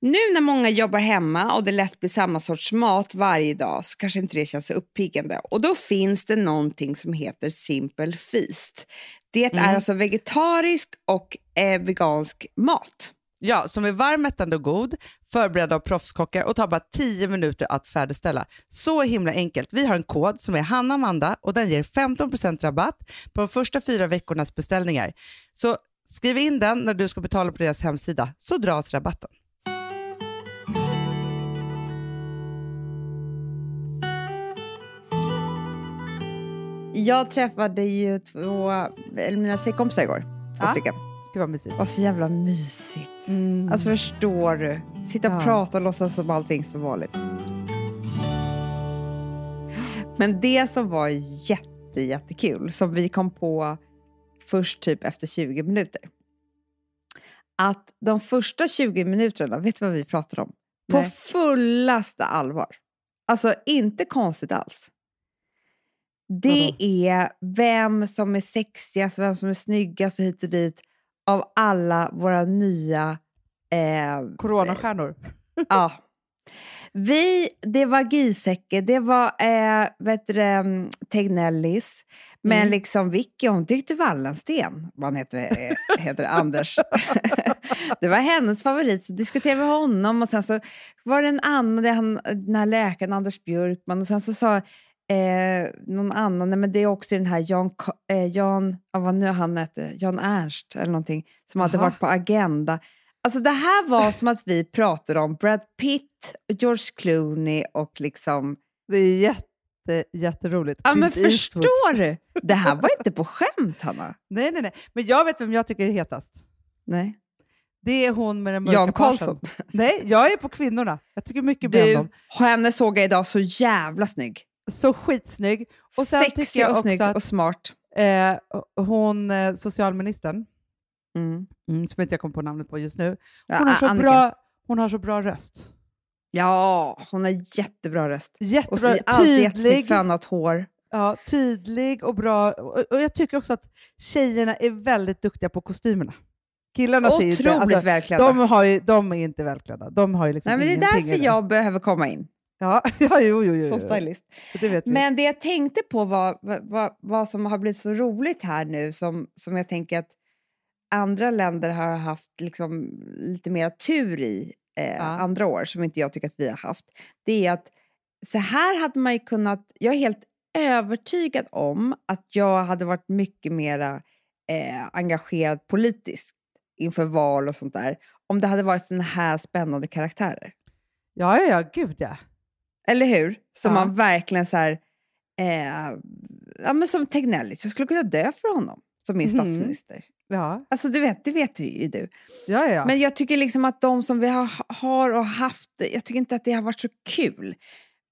Nu när många jobbar hemma och det lätt blir samma sorts mat varje dag så kanske inte det känns så uppiggande. Och då finns det någonting som heter Simple Feast. Det är alltså vegetarisk och eh, vegansk mat. Ja, som är varm, mättande och god, förberedd av proffskockar och tar bara 10 minuter att färdigställa. Så himla enkelt. Vi har en kod som är Hanna Amanda och den ger 15% rabatt på de första fyra veckornas beställningar. Så skriv in den när du ska betala på deras hemsida så dras rabatten. Jag träffade ju två, eller mina tjejkompisar igår. Två Ja. stycken. Gud vad mysigt. Mm. Det var så jävla mysigt. Alltså förstår du? Sitta och Ja. prata och låtsas som allting som vanligt. Men det som var jätte, jättekul, som vi kom på först typ efter 20 minuter. Att de första 20 minuterna, vet du vad vi pratade om? På Nej. fullaste allvar. Alltså inte konstigt alls. Det är vem som är sexigast, vem som är snyggast och hit och dit av alla våra nya... Eh, Coronastjärnor. ja. Vi, det var Giesecke, det var eh, vet du, det, mm, Tegnellis, men Mm. liksom Vicky, hon tyckte Wallensten, vad han heter, eh, heter Anders. det var hennes favorit, så diskuterade vi honom och sen så var det en annan, det är han, den här läkaren Anders Björkman och sen så sa eh, någon annan, nej men det är också den här Jan, Ka- eh, Jan ja, vad nu han hette, Jan Ernst eller någonting, som hade Jaha. varit på Agenda. Alltså det här var som att vi pratade om Brad Pitt, George Clooney och liksom... Det är jätte, jätteroligt. Ja men Clint Eastwood. förstår du? Det här var inte på skämt Hanna. Nej, nej, nej. Men jag vet vem jag tycker är hetast. Nej. Det är hon med den mörka Jan Karlsson. parsen. Nej, jag är på kvinnorna. Jag tycker mycket mer om Du, dem. henne såg jag idag så jävla snygg. Så skitsnygg. Och sen tycker Sexig jag och också snygg att och smart. eh, hon, eh, socialministern, Mm. som inte jag kommer på namnet på just nu, Ja, hon, har så Annika. bra, hon har så bra röst. Ja, hon har jättebra röst. Och så Jättebra, är alltid jättesnyggt tydlig, fönat hår. ja, tydlig och bra. Och, och jag tycker också att tjejerna är väldigt duktiga på kostymerna. Killarna ser ju Otroligt inte, alltså, välklädda. de, har ju, de är inte välklädda. De har ju liksom Nej, men det är ingenting i därför det. jag behöver komma in Ja, ja jo, jo, jo, som jo. stylist. Det vet vi. Men det jag tänkte på var vad, vad, vad som har blivit så roligt här nu som, som jag tänker att andra länder har haft liksom lite mer tur i eh, andra år som inte jag tycker att vi har haft. Det är att så här hade man ju kunnat... Jag är helt övertygad om att jag hade varit mycket mera eh, engagerad politiskt inför val och sånt där om det hade varit såna här spännande karaktärer. Ja, ja, ja, gud ja. Eller hur? Som Ja. man verkligen så här, eh, ja, men som Tegnellis, jag skulle kunna dö för honom som min Mhm. statsminister. Ja, Alltså du vet, det vet ju du. ja, ja. Men jag tycker liksom att de som vi har, har och haft, jag tycker inte att det har varit så kul.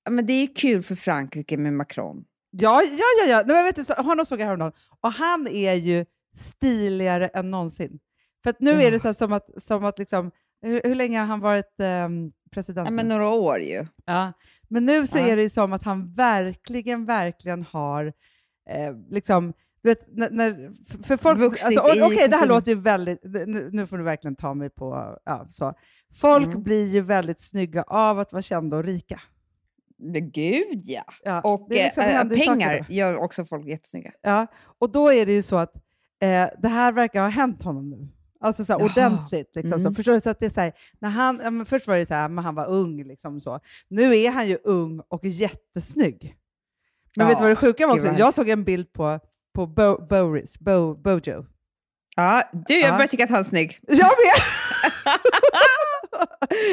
Ja, Men det är kul för Frankrike med Macron. Ja, ja, ja. ja. Nej, men vet du, så, honom såg jag häromdagen. Och han är ju stiligare än någonsin. För att nu Ja. är det så här, som att, som att liksom, hur, hur länge har han varit ehm, president? Ja, nu? men några år ju. Ja. Men nu så Ja. är det ju som att han verkligen, verkligen har eh, liksom du vet, när, när, för- för folk, Vuxit alltså, i o- Okej, det här kostymen. låter ju väldigt... Nu, nu får du verkligen ta mig på... Ja, så. Folk Mm. blir ju väldigt snygga av att vara kända och rika. Men Gud ja! Ja, Och det liksom eh, händer saker då. pengar gör också folk jättesnygga. Ja, och då är det ju så att eh, det här verkar ha hänt honom nu. Alltså så här, Jaha. ordentligt. Liksom, Mm. så. Förstår du? Så att det är så här, när han, ja, men först var det så här, men han var ung. Liksom, så. Nu är han ju ung och jättesnygg. Men vet du vad det Ja, sjuka var gud också? vad Jag såg en bild på, på Bo, Boris, Bo, Bojo. Ja, du, jag Ja. börjar tycka att han är snygg. Jag med! jag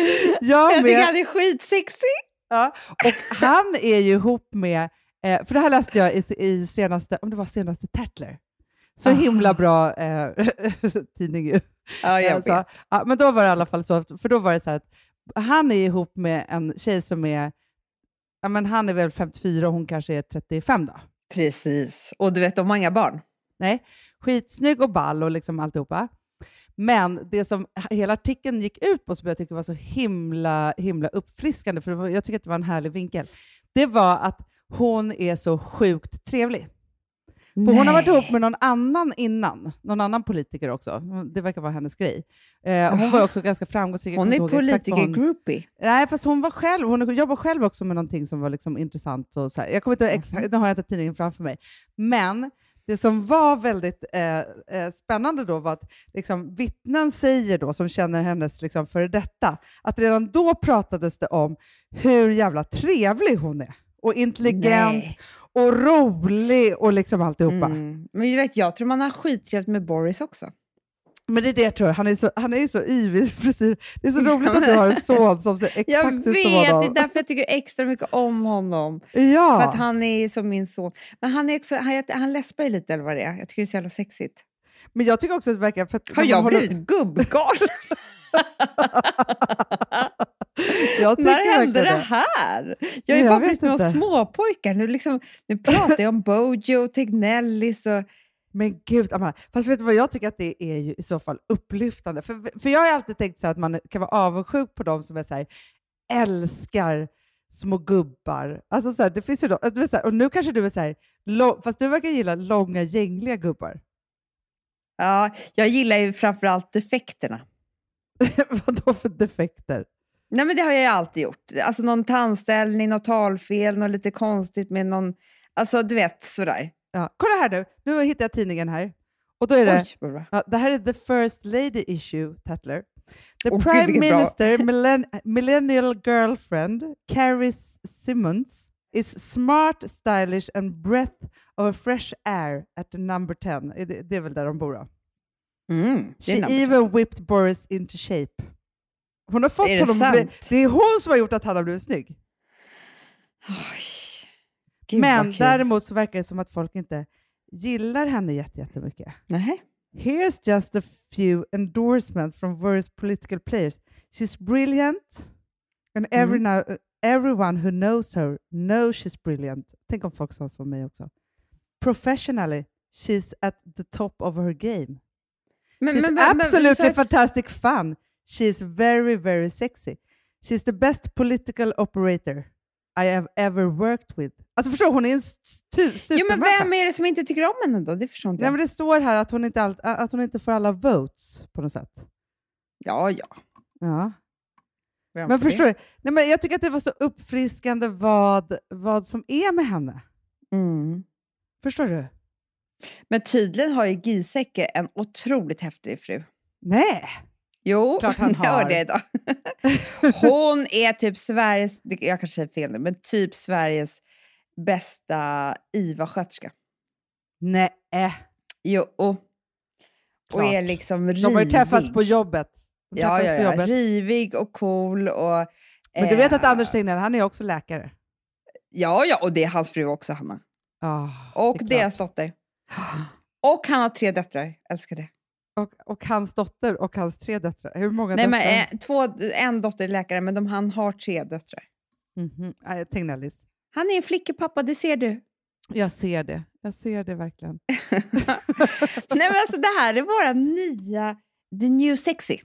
Jag tycker med! han är skitsexig! Ja. Och han är ju ihop med, eh, för det här läste jag i, i senaste, om det var senaste Tatler. Så Aha. himla bra eh, tidning ju. Ja, jag Alltså, vet. ja, men då var det i alla fall så, för då var det så här att han är ihop med en tjej som är, ja men han är väl 54 och hon kanske är 35 då. Precis. Och du vet, de har inga barn. Nej, skitsnygg och ball och liksom alltihopa. Men det som hela artikeln gick ut på, som jag tycker var så himla, himla uppfriskande, för det var, jag tycker att det var en härlig vinkel, det var att hon är så sjukt trevlig. För hon har varit Nej. ihop med någon annan innan, någon annan politiker också. Det verkar vara hennes grej. Eh, hon var också ganska framgångsrik. jag Hon kommer är inte ihåg exakt vad hon- politiker-groupie. Nej, fast hon var själv, hon jobbar själv också med någonting som var liksom intressant. Och så här. Jag kommer inte exakt, Mm. nu har jag inte tidningen framför mig. Men det som var väldigt eh, eh, spännande då var att liksom, vittnen säger då, som känner hennes liksom, före detta, att redan då pratades det om hur jävla trevlig hon är. Och intelligent Nej. och rolig och liksom alltihopa. Mm. Men du vet, jag tror man har skittrevligt med Boris också. Men det är det jag tror, han är så, han är ju så yvig i frisyr. Det är så roligt att du har en son som ser exakt Jag ut vet, som det är honom. därför jag tycker extra mycket om honom. Ja. För att han är ju som min son. Men han, är också, han, han läspar ju lite eller vad det är. Jag tycker det är så jävla sexigt. Men jag tycker också att det verkar... För att Har när man jag håller- blivit gubbgalen? Jag tycker När hände verkligen det här? Jag har ju Jag bara vet blivit med inte. om småpojkar. Nu, liksom, nu pratar jag om Bojo, Tegnellis och... Men gud, Amanda. Fast vet du vad jag tycker att det är ju i så fall upplyftande? För, för jag har ju alltid tänkt så här att man kan vara avundsjuk på de som är så här, älskar små gubbar. Alltså så här, det finns ju de, att du är så här, och nu kanske du är så här, lång, fast du verkar gilla långa gängliga gubbar. Ja, jag gillar ju framförallt defekterna. Vadå för defekter? Nej, men det har jag ju alltid gjort. Alltså någon tandställning, något talfel, något lite konstigt med någon... Alltså, du vet, sådär. Ja. Kolla här nu, nu hittar jag tidningen här. Och då är det... Oj, vad bra. Ja, det här är the first lady issue, Tatler. The Åh, gud, prime vilket bra. minister millen millennial girlfriend Carrie Simmons is smart, stylish and breath of a fresh air at the number 10. Eh, Det, det är väl där de bor då. Mm, det She är namnet. even whipped Boris into shape. Hon har fått Är det honom att bli, sant? Det är hon som har gjort att han har blivit snygg. Oj. Gud, Men vad kul. däremot så verkar det som att folk inte gillar henne jätte- jättemycket. Nähä. Here's just a few endorsements from various political players. She's brilliant, and every Mm. now, everyone who knows her knows she's brilliant. Tänk om folk sa som mig också. Professionally, she's at the top of her game. Men, men, she's men, men- absolutely så att- fantastic fun. She's very, very sexy. She's the best political operator I have ever worked with. Alltså förstår du, hon är en stu- Jo, men supermänniska. vem är det som inte tycker om henne då? Det förstår inte Nej, jag. men det står här att hon, inte all, att hon inte får alla votes på något sätt. Ja, ja. Ja. Vem Men får det? förstår du? Nej, men jag tycker att det var så uppfriskande vad, vad som är med henne. Mm. Förstår du? Men tydligen har ju Giesecke en otroligt häftig fru. Nej! Jo, Klart han jag hörde har. det idag. Hon är typ Sveriges, det- jag kanske säger fel nu, men typ Sveriges bästa IVA-sköterska. Nej. Jo, och, och är Klart. liksom rivig. De har ju träffats på jobbet. De Ja, träffades ja, på ja. jobbet. Rivig och cool. Och, Men du vet att eh, Anders Tegnell, han är också läkare. Ja, ja, och det är hans fru också, Hanna. Ah, Och det är deras dotter. Och han har tre döttrar. Älskar det. och, och hans dotter och hans tre döttrar. Hur många Nej, men, döttrar? eh, två, en dotter är läkare, men de, han har tre döttrar. Mhm. Nej, Tegnellis. Han är en flickepappa, det ser du. Jag ser det. Jag ser det verkligen. Nej, men alltså, det här är våra nya The New Sexy.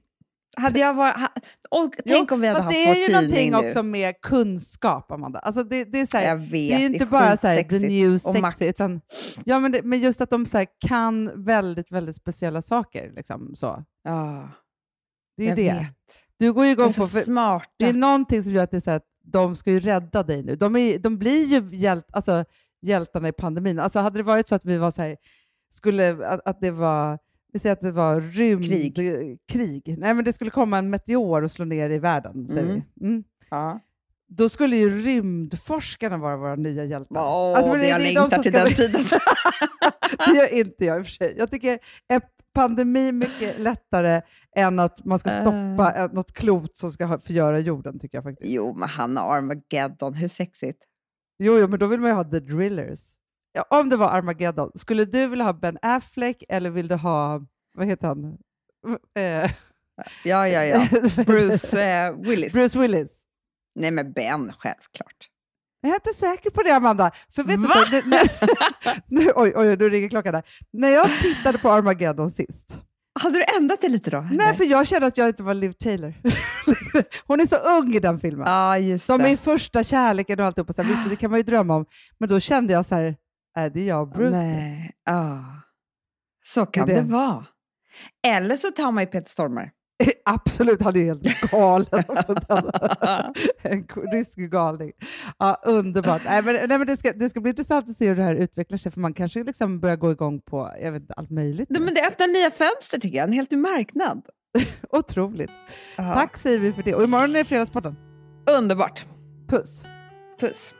Hade jag varit, ha, och, tänk om vi hade Fast haft det är ju vår någonting tidning nu. också med kunskap, Amanda. Alltså det, det är så här, jag vet, det är ju inte bara så här, the skitsexigt. new Och makt. sexy, utan ja, men, det, men just att de så här, kan väldigt, väldigt speciella saker. Liksom, så. Ja, Det är ju jag det. vet. Du går ju De är igång så på, för smarta. det är någonting som gör att det är så här, att de ska ju rädda dig nu. De, är, de blir ju hjält, alltså, hjältarna i pandemin. Alltså hade det varit så att vi var så här, skulle, att, att det var, vi säger att det var rymdkrig. Krig. Krig. Nej, men det skulle komma en meteor och slå ner i världen, säger Mm. vi. Mm. ja. Då skulle ju rymdforskarna vara våra nya hjältar. Åh, Alltså, för det jag är de längtar som till ska den bli- tiden. Det gör inte jag i och för sig. Jag tycker är pandemi mycket lättare än att man ska Eh. stoppa ett- något klot som ska ha- förgöra jorden, tycker jag faktiskt. jo, men Hanna Armageddon, hur sexigt? Jo, jo, men då vill man ju ha the drillers. Ja, om det var Armageddon, skulle du vilja ha Ben Affleck eller vill du ha, vad heter han? Eh, Ja, ja, ja. Bruce eh, Willis. Bruce Willis. Nej, men Ben, självklart. Jag är inte säker på det, Amanda. För vet du, Va? så, nu, nu, nu, oj, oj, nu ringer klockan där. När jag tittade på Armageddon sist, Hade du ändrat dig lite då? eller? nej, för jag kände att jag inte var Liv Taylor. Hon är så ung i den filmen. Ja, just Som det. min första kärleken och alltihopa. Så här, visst, det kan man ju drömma om. Men då kände jag så här, Är det jag och Bruce nu? Nej, ja. Så kan Det det, är det. vara. Eller så tar man ju Peter Stormare. Absolut, han är ju helt galen. också, den. en ko- rysk galning. Ja, underbart. Nej, men, nej, men det, ska, det ska bli intressant att se hur det här utvecklar sig, för man kanske liksom börjar gå igång på jag vet, inte, allt möjligt. Nej, nu. men det öppnar nya fönster tycker jag. En helt ny marknad. Otroligt. Ja. Tack säger vi för det. Och imorgon är det Fredagspodden. Underbart. Puss! Puss.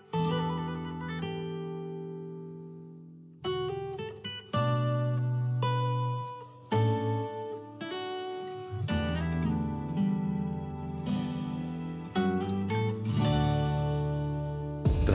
Den